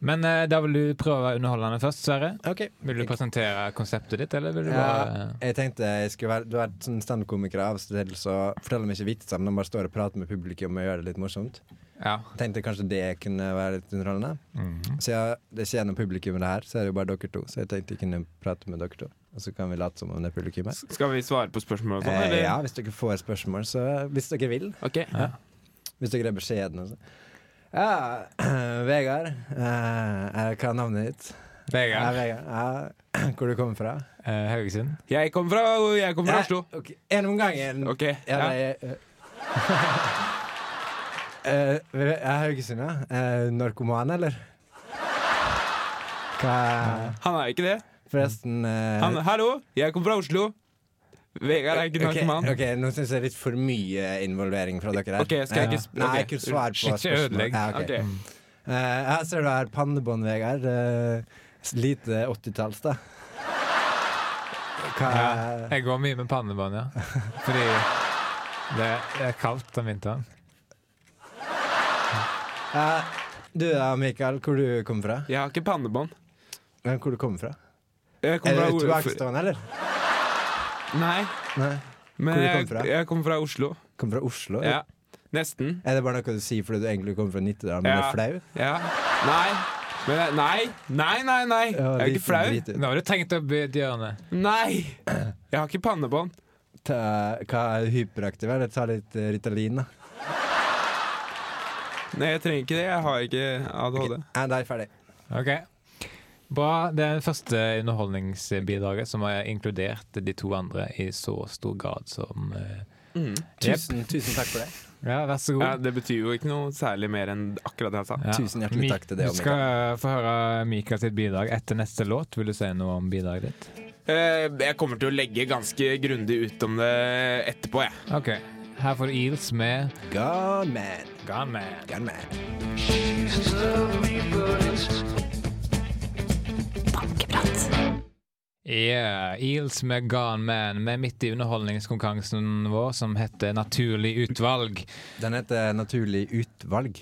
Speaker 5: Men eh, da vil du prøve å være underholdende først, Sverre.
Speaker 4: Ok.
Speaker 5: Vil du presentere konseptet ditt, eller vil du
Speaker 4: Ja,
Speaker 5: bare
Speaker 4: jeg tenkte jeg skulle være Du er sånn standup-komiker av og til, så forteller de ikke vitser, men de bare står og prater med publikum og gjør det litt morsomt.
Speaker 5: Ja.
Speaker 4: Tenkte kanskje det kunne være litt underholdende. Så jeg, det skjer noe publikum i det her, så er det jo bare dere to. Så jeg tenkte jeg kunne prate med dere to, og så kan vi late som om det er publikum her.
Speaker 7: Skal vi svare på spørsmål og sånn,
Speaker 4: Eh,
Speaker 7: eller?
Speaker 4: ja, hvis dere får spørsmål, så Hvis dere vil.
Speaker 7: Ok.
Speaker 4: Hvis dere er beskjedne. og så. Ja, Vegard. eh, eh, hva er navnet ditt? Ja,
Speaker 5: Vegard
Speaker 4: Vegard. Ja, hvor du kommer fra?
Speaker 5: eh, Haugesund.
Speaker 7: Jeg kommer fra, jeg kommer fra
Speaker 4: Ja,
Speaker 7: Oslo.
Speaker 4: ok. En om gangen.
Speaker 7: Ok.
Speaker 4: Ja,
Speaker 7: Ja.
Speaker 4: nei eh, eh, Jeg er Haugesund, ja. Eh, narkoman, eller? Hva
Speaker 7: Han er ikke det.
Speaker 4: Forresten eh,
Speaker 7: Han, hallo, jeg kommer fra Oslo. Vegard er ikke
Speaker 4: ok,
Speaker 7: narkoman.
Speaker 4: ok, nå syns jeg litt for mye involvering fra dere her.
Speaker 7: Ok, skal jeg ikke sp-
Speaker 4: Nei,
Speaker 7: ok.
Speaker 4: jeg kunne svare på
Speaker 5: Ikke ødelegg.
Speaker 4: Ja,
Speaker 7: Ok.
Speaker 4: ok. Eh, her ser du her pannebånd, Vegard. Eh, s- lite 80-talls, da. Hva
Speaker 5: Ja. Jeg går mye med pannebånd, ja. Fordi det det er kaldt om vinteren.
Speaker 4: Eh, Du da, Mikael, hvor du kommer fra?
Speaker 7: Jeg har ikke pannebånd.
Speaker 4: Eh, Hvor du kommer fra?
Speaker 7: Jeg
Speaker 4: Er
Speaker 7: kommer
Speaker 4: du
Speaker 7: fra
Speaker 4: tilbakestående, eller?
Speaker 7: Nei,
Speaker 4: Nei.
Speaker 7: men
Speaker 4: Hvor du
Speaker 7: jeg,
Speaker 4: kom fra?
Speaker 7: jeg kommer fra Oslo.
Speaker 4: Kommer fra Oslo?
Speaker 7: Ja. Nesten.
Speaker 4: Er det bare noe du sier fordi du egentlig kommer fra Nittedal, men
Speaker 7: Ja.
Speaker 4: er flau?
Speaker 7: Ja. Nei. Men jeg, nei. Nei, nei, nei. Jeg
Speaker 4: Ja,
Speaker 7: er
Speaker 4: liten
Speaker 7: ikke flau.
Speaker 4: drit ut.
Speaker 5: Nå har du tenkt opp i et hjørne.
Speaker 7: Nei. Jeg har ikke pannebånd.
Speaker 4: Ta, hva er hyperaktiv? Eller ta litt eh, Ritalin, da.
Speaker 7: Nei, jeg trenger ikke det. Jeg har ikke ADHD.
Speaker 4: Nei, da er jeg ferdig.
Speaker 5: Ok. Bra. Det er det første underholdningsbidraget som har inkludert de to andre i så stor grad som eh,
Speaker 4: Tusen, tusen takk for det.
Speaker 5: Ja, vær så
Speaker 7: Ja,
Speaker 5: god.
Speaker 7: det betyr jo ikke noe særlig mer enn akkurat det jeg sa.
Speaker 5: Ja.
Speaker 4: Tusen hjertelig
Speaker 5: Mi-
Speaker 4: takk til deg,
Speaker 5: Du skal eh, få høre Mikael sitt bidrag etter neste låt. Vil du si noe om bidraget ditt?
Speaker 7: Eh, Jeg kommer til å legge ganske grundig ut om det etterpå, jeg.
Speaker 5: Ok, her får du Eels med
Speaker 4: Gone man,
Speaker 5: Gone Man.
Speaker 4: gone man.
Speaker 12: Bankeprat
Speaker 5: Yeah, Eels med Gone Man. Vi er midt i underholdningskonkurransen vår som heter Naturlig utvalg.
Speaker 4: Den heter Naturlig utvalg.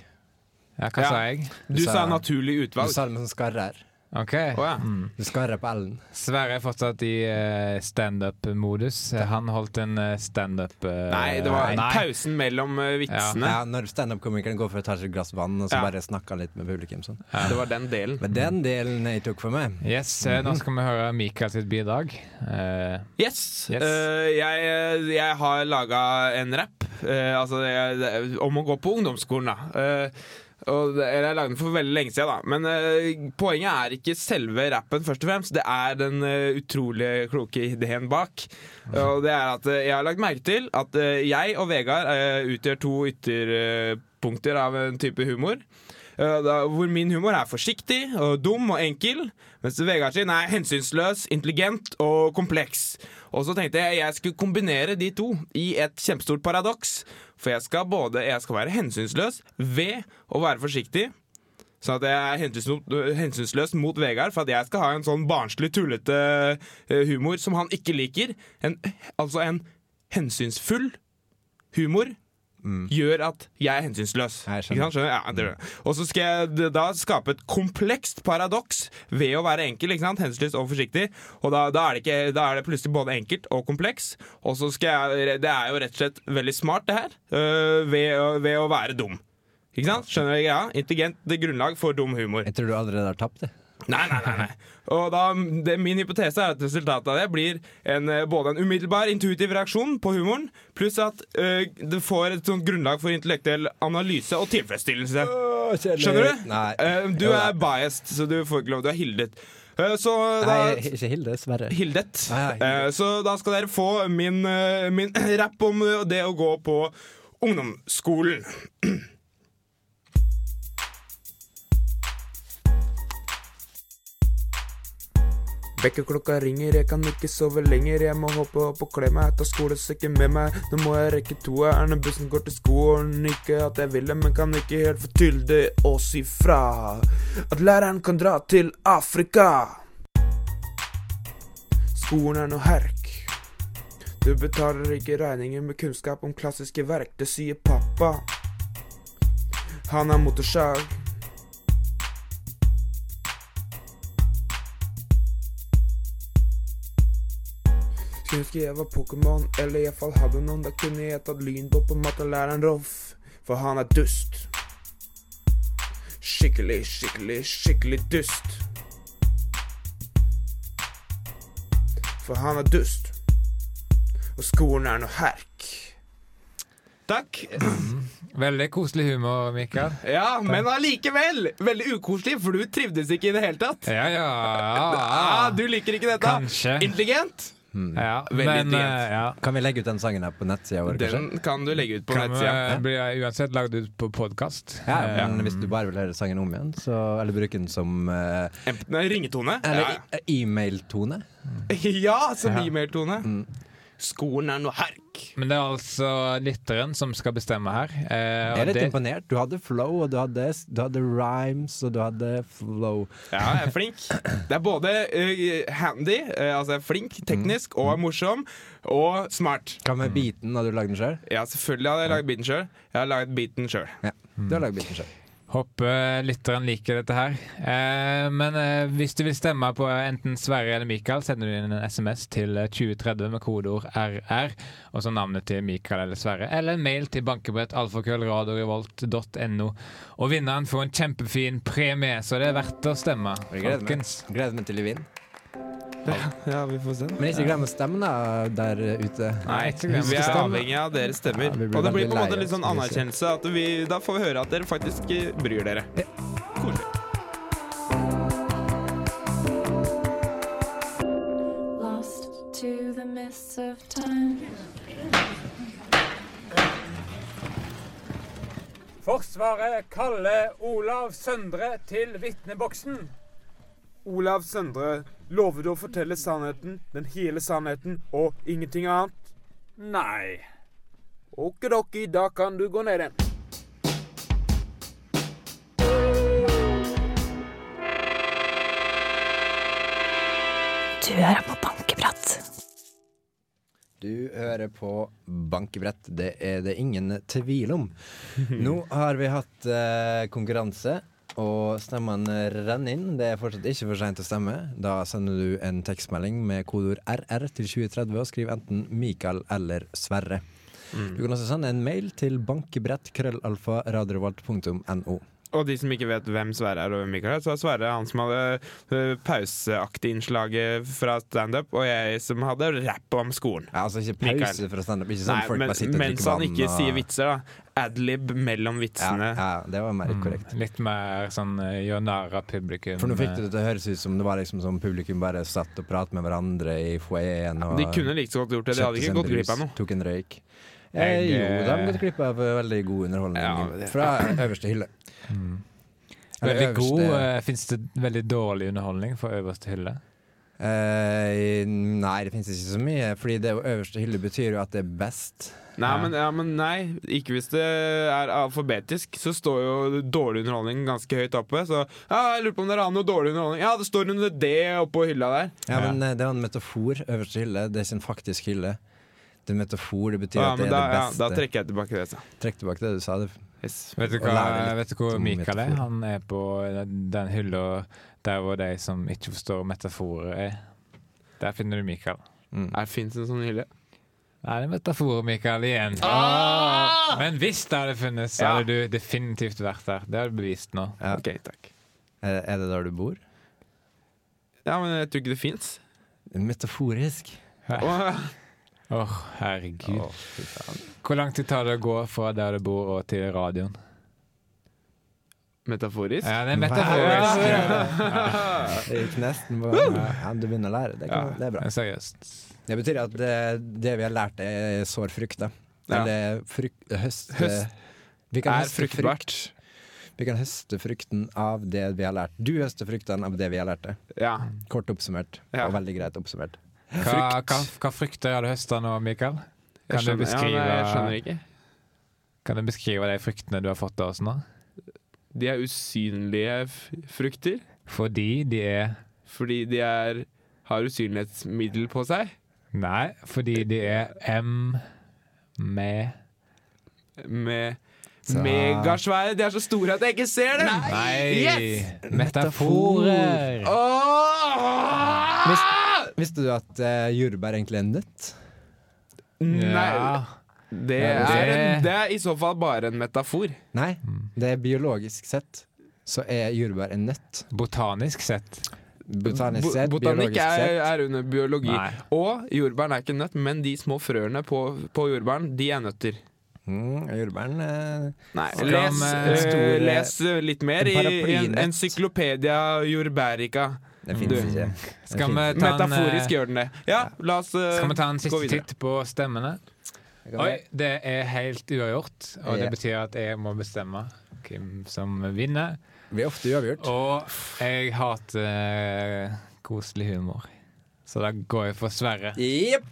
Speaker 5: Ja, hva
Speaker 2: Ja.
Speaker 5: sa jeg?
Speaker 2: Du
Speaker 4: sa-
Speaker 2: sa naturlig
Speaker 4: Du
Speaker 2: utvalg.
Speaker 4: sa det med sånn skarre her.
Speaker 5: OK.
Speaker 2: Å ja.
Speaker 5: Mm.
Speaker 4: Du skarrer på Ellen.
Speaker 5: Sverre er fortsatt i eh, standup-modus. Han holdt en eh, standup eh,
Speaker 2: Nei, det var
Speaker 5: nei.
Speaker 2: pausen mellom eh, vitsene.
Speaker 4: Ja, når standup-komikeren går for å ta seg et glass vann og så
Speaker 2: Ja.
Speaker 4: bare snakker litt med publikum. Sånn.
Speaker 2: Det var den delen.
Speaker 4: Men den delen jeg tok for meg.
Speaker 5: Yes, eh,
Speaker 2: Mhm.
Speaker 5: Nå skal vi høre Mikael sitt bidrag. Eh,
Speaker 2: Yes.
Speaker 5: Yes.
Speaker 2: Eh, jeg, jeg har laga en rapp eh, altså, jeg, det- om å gå på ungdomsskolen, da. Eh, og, det- eller jeg lagde den for veldig lenge siden, da. Men eh, poenget er ikke selve rappen, først og fremst. Det er den eh, utrolig kloke ideen bak. Og det er at eh, jeg har lagt merke til at eh, jeg og Vegard eh, utgjør to ytterpunkter av en type humor. Eh, da, hvor min humor er forsiktig og dum og enkel, mens Vegard sin er hensynsløs, intelligent og kompleks. Og så tenkte jeg jeg skulle kombinere de to i et kjempestort paradoks. For jeg skal både jeg skal være hensynsløs ved å være forsiktig. Sånn at jeg er hensyns- hensynsløs mot Vegard for at jeg skal ha en sånn barnslig, tullete eh, humor som han ikke liker. En, altså en hensynsfull humor gjør at jeg er hensynsløs.
Speaker 4: Mm. Jeg skjønner.
Speaker 2: Ikke sant? skjønner? Ja, det gjør jeg. Og så skal jeg d- da skape et komplekst paradoks ved å være enkel, ikke sant? hensynsløs og forsiktig. Og da, da, er det ikke, da er det plutselig både enkelt og kompleks. Og så skal jeg Det er jo rett og slett veldig smart, det her, øh, ved, å- ved å være dum. Ikke sant? Skjønner du greia? Intelligent grunnlag for dum humor.
Speaker 4: Jeg tror du allerede har tapt det.
Speaker 2: Nei, nei, nei. nei. Og da, det, min hypotese er at resultatet av det blir en, eh, både en umiddelbar intuitiv reaksjon på humoren, pluss at eh, det får et sånt grunnlag for intellektuell analyse og tilfredsstillelse. Skjønner du?
Speaker 4: Nei.
Speaker 2: Eh, du
Speaker 4: Jo da.
Speaker 2: er biased, så du får ikke lov. Du er hildet. Eh, så da
Speaker 4: Nei, ikke Hilde, Sverre.
Speaker 2: Hildet.
Speaker 4: Ah, ja, Hildet.
Speaker 2: Eh, så da skal dere få min, eh, min rapp om eh, det å gå på ungdomsskolen. Vekkerklokka ringer, jeg kan ikke sove lenger. Jeg må hoppe opp og kle meg, ta skolesekken med meg. Nå må jeg rekke toeren, bussen går til skolen. Ikke at jeg ville, men kan ikke helt få til det å si fra. At læreren kan dra til Afrika. Skolen er noe herk. Du betaler ikke regninger med kunnskap om klassiske verk, det sier pappa. Han er motorsag. Skulle ønske jeg var Pokémon, eller iallfall hadde noen. Da kunne jeg tatt lynbåt på mattelæreren Rolf, for han er dust. Skikkelig, skikkelig, skikkelig dust. For han er dust. Og skolen er noe herk. Takk.
Speaker 5: veldig koselig humor, Mikael.
Speaker 2: Ja, men allikevel veldig ukoselig, for du trivdes ikke i det hele tatt.
Speaker 5: Ja, ja,
Speaker 2: Ah,
Speaker 5: ja.
Speaker 2: du liker ikke dette.
Speaker 5: Kanskje.
Speaker 2: Intelligent.
Speaker 5: Ja,
Speaker 2: Veldig
Speaker 5: men
Speaker 2: intelligent.
Speaker 5: eh, ja.
Speaker 4: Kan vi legge ut den sangen her på nettsida vår, kanskje?
Speaker 2: Den kan du legge ut på
Speaker 5: Kan
Speaker 2: nettsida.
Speaker 5: vi- blir jeg uansett lagd ut på Eh, podkast.
Speaker 4: Ja, men Hvis du bare vil høre sangen om igjen, så, eller bruke den som eh,
Speaker 2: Em- Nei, ringetone.
Speaker 4: Eller e- e-mail-tone.
Speaker 2: ja. ja, som e-mailtone.
Speaker 5: Mm.
Speaker 2: Skolen er noe herk.
Speaker 5: Men det er altså lytteren som skal bestemme her. eh, og
Speaker 4: Jeg er litt
Speaker 5: det-
Speaker 4: imponert. Du hadde flow, og du hadde, du hadde rhymes, og du hadde flow.
Speaker 2: Ja, jeg er flink. Det er både eh, handy, eh, altså jeg er flink,
Speaker 5: Mm.
Speaker 2: teknisk og morsom, og smart.
Speaker 4: Hva med beaten? Hadde du lagd den sjøl?
Speaker 2: Ja, selvfølgelig hadde jeg lagd beaten sjøl. Jeg har laget beaten sjøl.
Speaker 4: Ja. Mm. Du har lagd beaten sjøl.
Speaker 5: Håper lytteren liker dette her. Eh, men eh, hvis du vil stemme på enten Sverre eller Mikael, sender du inn en SMS til eh, 2030 med kodeord RR, og så navnet til Mikael eller Sverre, eller en mail til bankebrett.alfakrøllradiorevolt.no. Og vinneren får en kjempefin premie, så det er verdt å stemme,
Speaker 4: Gleder meg.
Speaker 5: folkens.
Speaker 4: Gleder meg til å vinne.
Speaker 2: Ja, vi får se.
Speaker 4: Men ikke glem å stemme da, der eh, ute.
Speaker 5: Nei, ikke glem
Speaker 2: Vi
Speaker 5: å
Speaker 2: er
Speaker 5: stemme.
Speaker 2: avhengig av deres stemmer.
Speaker 4: Ja, vi blir
Speaker 2: og det blir på en
Speaker 4: veldig
Speaker 2: måte
Speaker 4: lei
Speaker 2: litt sånn
Speaker 4: oss, vil
Speaker 2: anerkjennelse. At vi, da får vi høre at dere faktisk eh, bryr dere.
Speaker 13: Lost to the mists of time.
Speaker 7: Forsvaret kaller Olav Søndre til vitneboksen.
Speaker 2: Olav Søndre, lover du å fortelle sannheten, den hele sannheten og ingenting annet?
Speaker 7: Nei.
Speaker 2: Okidoki, da kan du gå ned igjen.
Speaker 13: Du hører på bankeprat.
Speaker 4: Du hører på bankebrett, det er det ingen tvil om. Nå har vi hatt eh, konkurranse, og stemmene renner inn. Det er fortsatt ikke for seint å stemme. Da sender du en tekstmelding med kodeord RR til 2030 og skriv enten Mikael eller Sverre.
Speaker 7: Mm.
Speaker 4: Du kan også sende en mail til bankebrettkrøllalfa.radiorevolt.no.
Speaker 7: Og de som ikke vet hvem Sverre er, og hvem Mikael er, så er Sverre han som hadde øh, pauseaktig innslaget fra standup, og jeg som hadde rapp om skolen.
Speaker 4: Ja, altså ikke pause
Speaker 7: Mikael.
Speaker 4: fra standup. Ikke sånn
Speaker 7: Nei,
Speaker 4: folk
Speaker 7: men,
Speaker 4: bare sitter og
Speaker 7: mens
Speaker 4: drikker
Speaker 7: han
Speaker 4: vann.
Speaker 7: ikke
Speaker 4: og-
Speaker 7: sier eh. vitser, da. Adlib mellom vitsene.
Speaker 4: Ja, ja, det var
Speaker 7: Mm.
Speaker 4: mer korrekt.
Speaker 5: Mm, Litt mer sånn eh, gjør narr av publikum. eh.
Speaker 4: For nå fikk
Speaker 7: eh,
Speaker 4: det til å høres ut som det var liksom som publikum bare satt og pratet med hverandre i foajeen. og
Speaker 7: De kunne like så godt gjort det, de hadde
Speaker 4: kjøpte seg
Speaker 7: ikke
Speaker 4: en
Speaker 7: gått glipp
Speaker 4: brus,
Speaker 7: av noe.
Speaker 4: Tok en røyk. Eh,
Speaker 5: Jeg,
Speaker 4: jo, de har
Speaker 5: eh,
Speaker 4: gått glipp av eh, veldig god
Speaker 7: Ja,
Speaker 4: underholdning
Speaker 7: det- Mm.
Speaker 4: fra øverste hylle. Eller
Speaker 5: Veldig god.
Speaker 4: øverste-
Speaker 5: eh, Fins det veldig dårlig underholdning for øverste hylle?
Speaker 4: eh, Nei, det finnes ikke så mye, fordi det øverste hylle betyr jo at det er best.
Speaker 7: Nei,
Speaker 5: Ja.
Speaker 7: men, ja, men nei, ikke hvis det er alfabetisk, så står jo dårlig underholdning ganske høyt oppe. Så ja, jeg lurer på om dere har noe dårlig underholdning. Ja, det står under det oppå hylla der.
Speaker 4: Ja, men eh, det er en metafor. Øverste hylle, det er sin faktisk hylle. Det er en metafor, det betyr
Speaker 7: Ja,
Speaker 4: at det
Speaker 7: men
Speaker 4: er
Speaker 7: da,
Speaker 4: det
Speaker 7: ja,
Speaker 4: beste.
Speaker 7: da trekker jeg tilbake det. Så.
Speaker 4: Trekk tilbake det du sa. Det.
Speaker 7: Yes.
Speaker 5: Vet du,
Speaker 4: Og lære
Speaker 5: hva,
Speaker 4: litt
Speaker 5: vet du hvor
Speaker 4: om
Speaker 5: Mikael er?
Speaker 4: metaforer.
Speaker 5: Han er på den hylla der hvor de som ikke forstår metaforer, er. Der finner du Mikael.
Speaker 7: Er fins en sånn hylle?
Speaker 5: Nei, det er metaforer, Mikael, igjen. Men hvis det hadde funnes, så
Speaker 7: Ah! Ja.
Speaker 5: hadde du definitivt vært der. Det har du bevist nå.
Speaker 4: Ja.
Speaker 7: OK, takk.
Speaker 4: Er er det der du bor?
Speaker 7: Ja, men jeg tror ikke det fins.
Speaker 4: Metaforisk.
Speaker 5: Åh, herregud. Hvor lang tid tar det å gå fra der du bor og til radioen?
Speaker 7: Metaforisk.
Speaker 5: Ja,
Speaker 7: Ah,
Speaker 5: det er metaforisk.
Speaker 4: Det gikk nesten på ja, Du begynner å lære. Det, kan, det er bra.
Speaker 5: Ja, seriøst.
Speaker 4: Det betyr at det, det vi har lært, er sår frukt. Da.
Speaker 7: Ja.
Speaker 4: Eller frukt, høst,
Speaker 7: Høst.
Speaker 4: Vi kan
Speaker 7: Er
Speaker 4: høste
Speaker 7: fruktbart.
Speaker 4: Frukt. Vi kan høste frukten av det vi har lært. Du høster fruktene av det vi har lært deg.
Speaker 7: Ja.
Speaker 4: Kort oppsummert,
Speaker 7: Ja.
Speaker 4: og veldig greit oppsummert.
Speaker 5: Hva, hva, hva frykter har du høsta nå, Mikael?
Speaker 7: Jeg
Speaker 5: Kan du
Speaker 7: skjønner-
Speaker 5: beskrive,
Speaker 7: Ja, nei, jeg skjønner ikke.
Speaker 5: kan du beskrive de fryktene du har fått av oss nå?
Speaker 7: De er usynlige f frukter
Speaker 5: Fordi de er
Speaker 7: fordi de er, har usynlighetsmiddel på seg.
Speaker 5: Nei, fordi de er M med
Speaker 7: Med
Speaker 4: Så-
Speaker 7: megasvære. De er så store at jeg ikke ser dem!
Speaker 5: Nei!
Speaker 7: Yes!
Speaker 5: Metaforer!
Speaker 7: Åh!
Speaker 4: Vis, visste du at eh, jordbær egentlig er en nøtt?
Speaker 7: Nei,
Speaker 5: Ja.
Speaker 7: det
Speaker 5: Ja,
Speaker 7: er,
Speaker 5: det-
Speaker 7: en, det er i så fall bare en metafor.
Speaker 4: Nei,
Speaker 5: Mm.
Speaker 4: det er biologisk sett så er jordbær en nøtt.
Speaker 5: Botanisk sett.
Speaker 4: Botanisk
Speaker 7: Bo-
Speaker 4: sett,
Speaker 7: Botanikk
Speaker 4: biologisk
Speaker 7: er,
Speaker 4: sett.
Speaker 7: er under biologi.
Speaker 5: Nei.
Speaker 7: Og jordbæren er ikke nøtt, men de små frøene på, på jordbæren, de er nøtter.
Speaker 4: Mm, jordbæren eh,
Speaker 7: Nei,
Speaker 5: Skal
Speaker 7: les,
Speaker 5: med
Speaker 7: eh,
Speaker 4: store-
Speaker 7: les eh, litt mer i, i en
Speaker 4: Paraplynett.
Speaker 7: encyklopedia jordbærica.
Speaker 4: Det
Speaker 7: Du.
Speaker 4: finnes ikke. Det
Speaker 5: Mm. Skal vi ta en,
Speaker 7: Metaforisk
Speaker 5: eh,
Speaker 7: gjør den det. Ja, la oss eh,
Speaker 5: skal vi ta en
Speaker 7: gå
Speaker 5: siste
Speaker 7: videre.
Speaker 5: titt på stemmene?
Speaker 4: Kan
Speaker 5: Oi,
Speaker 4: vi-
Speaker 5: det er helt uavgjort, og
Speaker 4: Ja.
Speaker 5: det betyr at jeg må bestemme hvem som vinner.
Speaker 4: Vi er ofte uavgjort.
Speaker 5: Og jeg hater eh, koselig humor, så da går jeg for Sverre.
Speaker 4: Jepp.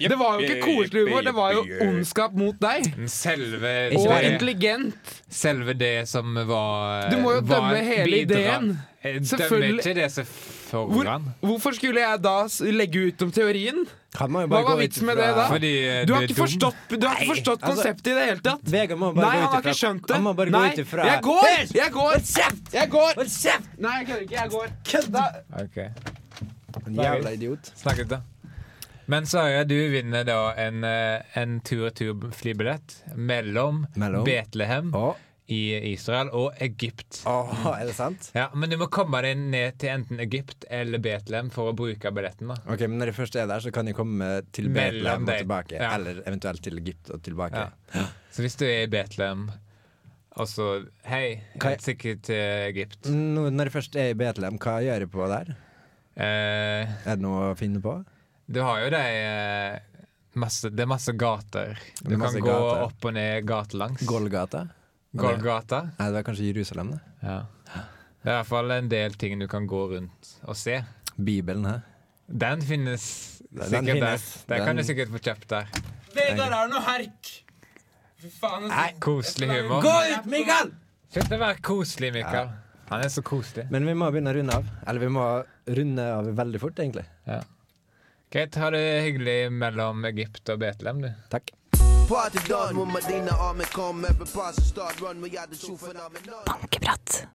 Speaker 7: Det var jo ikke koselig humor, det var jo ondskap mot deg.
Speaker 5: Men Selve
Speaker 4: Ikke
Speaker 7: Og
Speaker 4: bare-
Speaker 5: det,
Speaker 7: intelligent.
Speaker 5: selve det som var eh,
Speaker 7: Du må jo
Speaker 5: var
Speaker 7: dømme
Speaker 5: et
Speaker 7: hele ideen.
Speaker 5: Jeg dømmer
Speaker 7: Selvfølgelig.
Speaker 5: ikke det som
Speaker 7: Hvor,
Speaker 5: foran.
Speaker 7: hvorfor skulle jeg da s- legge ut om teorien?
Speaker 4: Han må jo
Speaker 7: Hva
Speaker 4: bare
Speaker 7: var
Speaker 4: gå ut
Speaker 7: vitsen med
Speaker 4: ifra-
Speaker 7: det da?
Speaker 5: Fordi eh,
Speaker 7: Du har
Speaker 5: er
Speaker 7: ikke
Speaker 5: dum.
Speaker 7: forstått, du har ikke forstått
Speaker 4: altså-
Speaker 7: konseptet i det hele tatt.
Speaker 4: Vegard må bare
Speaker 7: Nei,
Speaker 4: gå
Speaker 7: han
Speaker 4: ut
Speaker 7: har
Speaker 4: ifra-
Speaker 7: ikke skjønt det.
Speaker 4: Han må bare
Speaker 7: Nei,
Speaker 4: gå ut ifra
Speaker 7: jeg går! Jeg går! Jeg går!
Speaker 4: Hold kjeft!
Speaker 7: Nei, jeg kødder ikke. Jeg går. Kødda!
Speaker 5: Ok,
Speaker 4: En jævla idiot.
Speaker 5: snakkes da. Men Sverre, du vinner da en, eh, en tur-retur-flybillett mellom,
Speaker 4: Mellom?
Speaker 5: Betlehem
Speaker 4: Å,
Speaker 5: i Israel og Egypt.
Speaker 4: å, er det sant?
Speaker 5: Ja, Men du må komme deg ned til enten Egypt eller Betlehm for å bruke billetten. da
Speaker 4: Ok, men Når jeg først er der, så kan jeg komme til
Speaker 5: Mellom
Speaker 4: Betlehem og
Speaker 5: deg.
Speaker 4: tilbake.
Speaker 5: Ja.
Speaker 4: Eller eventuelt til Egypt og tilbake.
Speaker 5: Ja. Så hvis du er i Betlehem, og så Hei,
Speaker 4: Kan
Speaker 5: jeg
Speaker 4: jeg-
Speaker 5: stikker til Egypt.
Speaker 4: Nå, når jeg først er i Betlehem, hva gjør jeg på der?
Speaker 5: Eh,
Speaker 4: Er det noe å finne på?
Speaker 5: du har jo de eh, masse, Det er masse gater. Du
Speaker 4: er masse
Speaker 5: kan gå
Speaker 4: gater.
Speaker 5: opp og ned gatelangs.
Speaker 4: Golgata?
Speaker 5: Golgata.
Speaker 4: Nei, det var kanskje Jerusalem, det.
Speaker 5: Ja. Det er i hvert fall en del ting du kan gå rundt og se.
Speaker 4: Bibelen her.
Speaker 5: Den finnes
Speaker 4: Den
Speaker 5: sikkert
Speaker 4: finnes.
Speaker 5: der. Der
Speaker 4: Den-
Speaker 5: kan du sikkert få kjøpt der.
Speaker 7: Vegard er noe herk! Fy faen. altså.
Speaker 5: Koselig humor.
Speaker 4: ut, Mikael!
Speaker 5: Slutt å være koselig, Mikael. Han er så koselig.
Speaker 4: Men vi må begynne å runde av. Eller vi må runde av veldig fort, egentlig.
Speaker 5: Ja. Greit, ha det hyggelig mellom Egypt og Betlehem, du.
Speaker 4: Takk.
Speaker 6: Party done when Medina Army come. Every pass start run. We got the truth phenomenon.
Speaker 14: Bankeprat.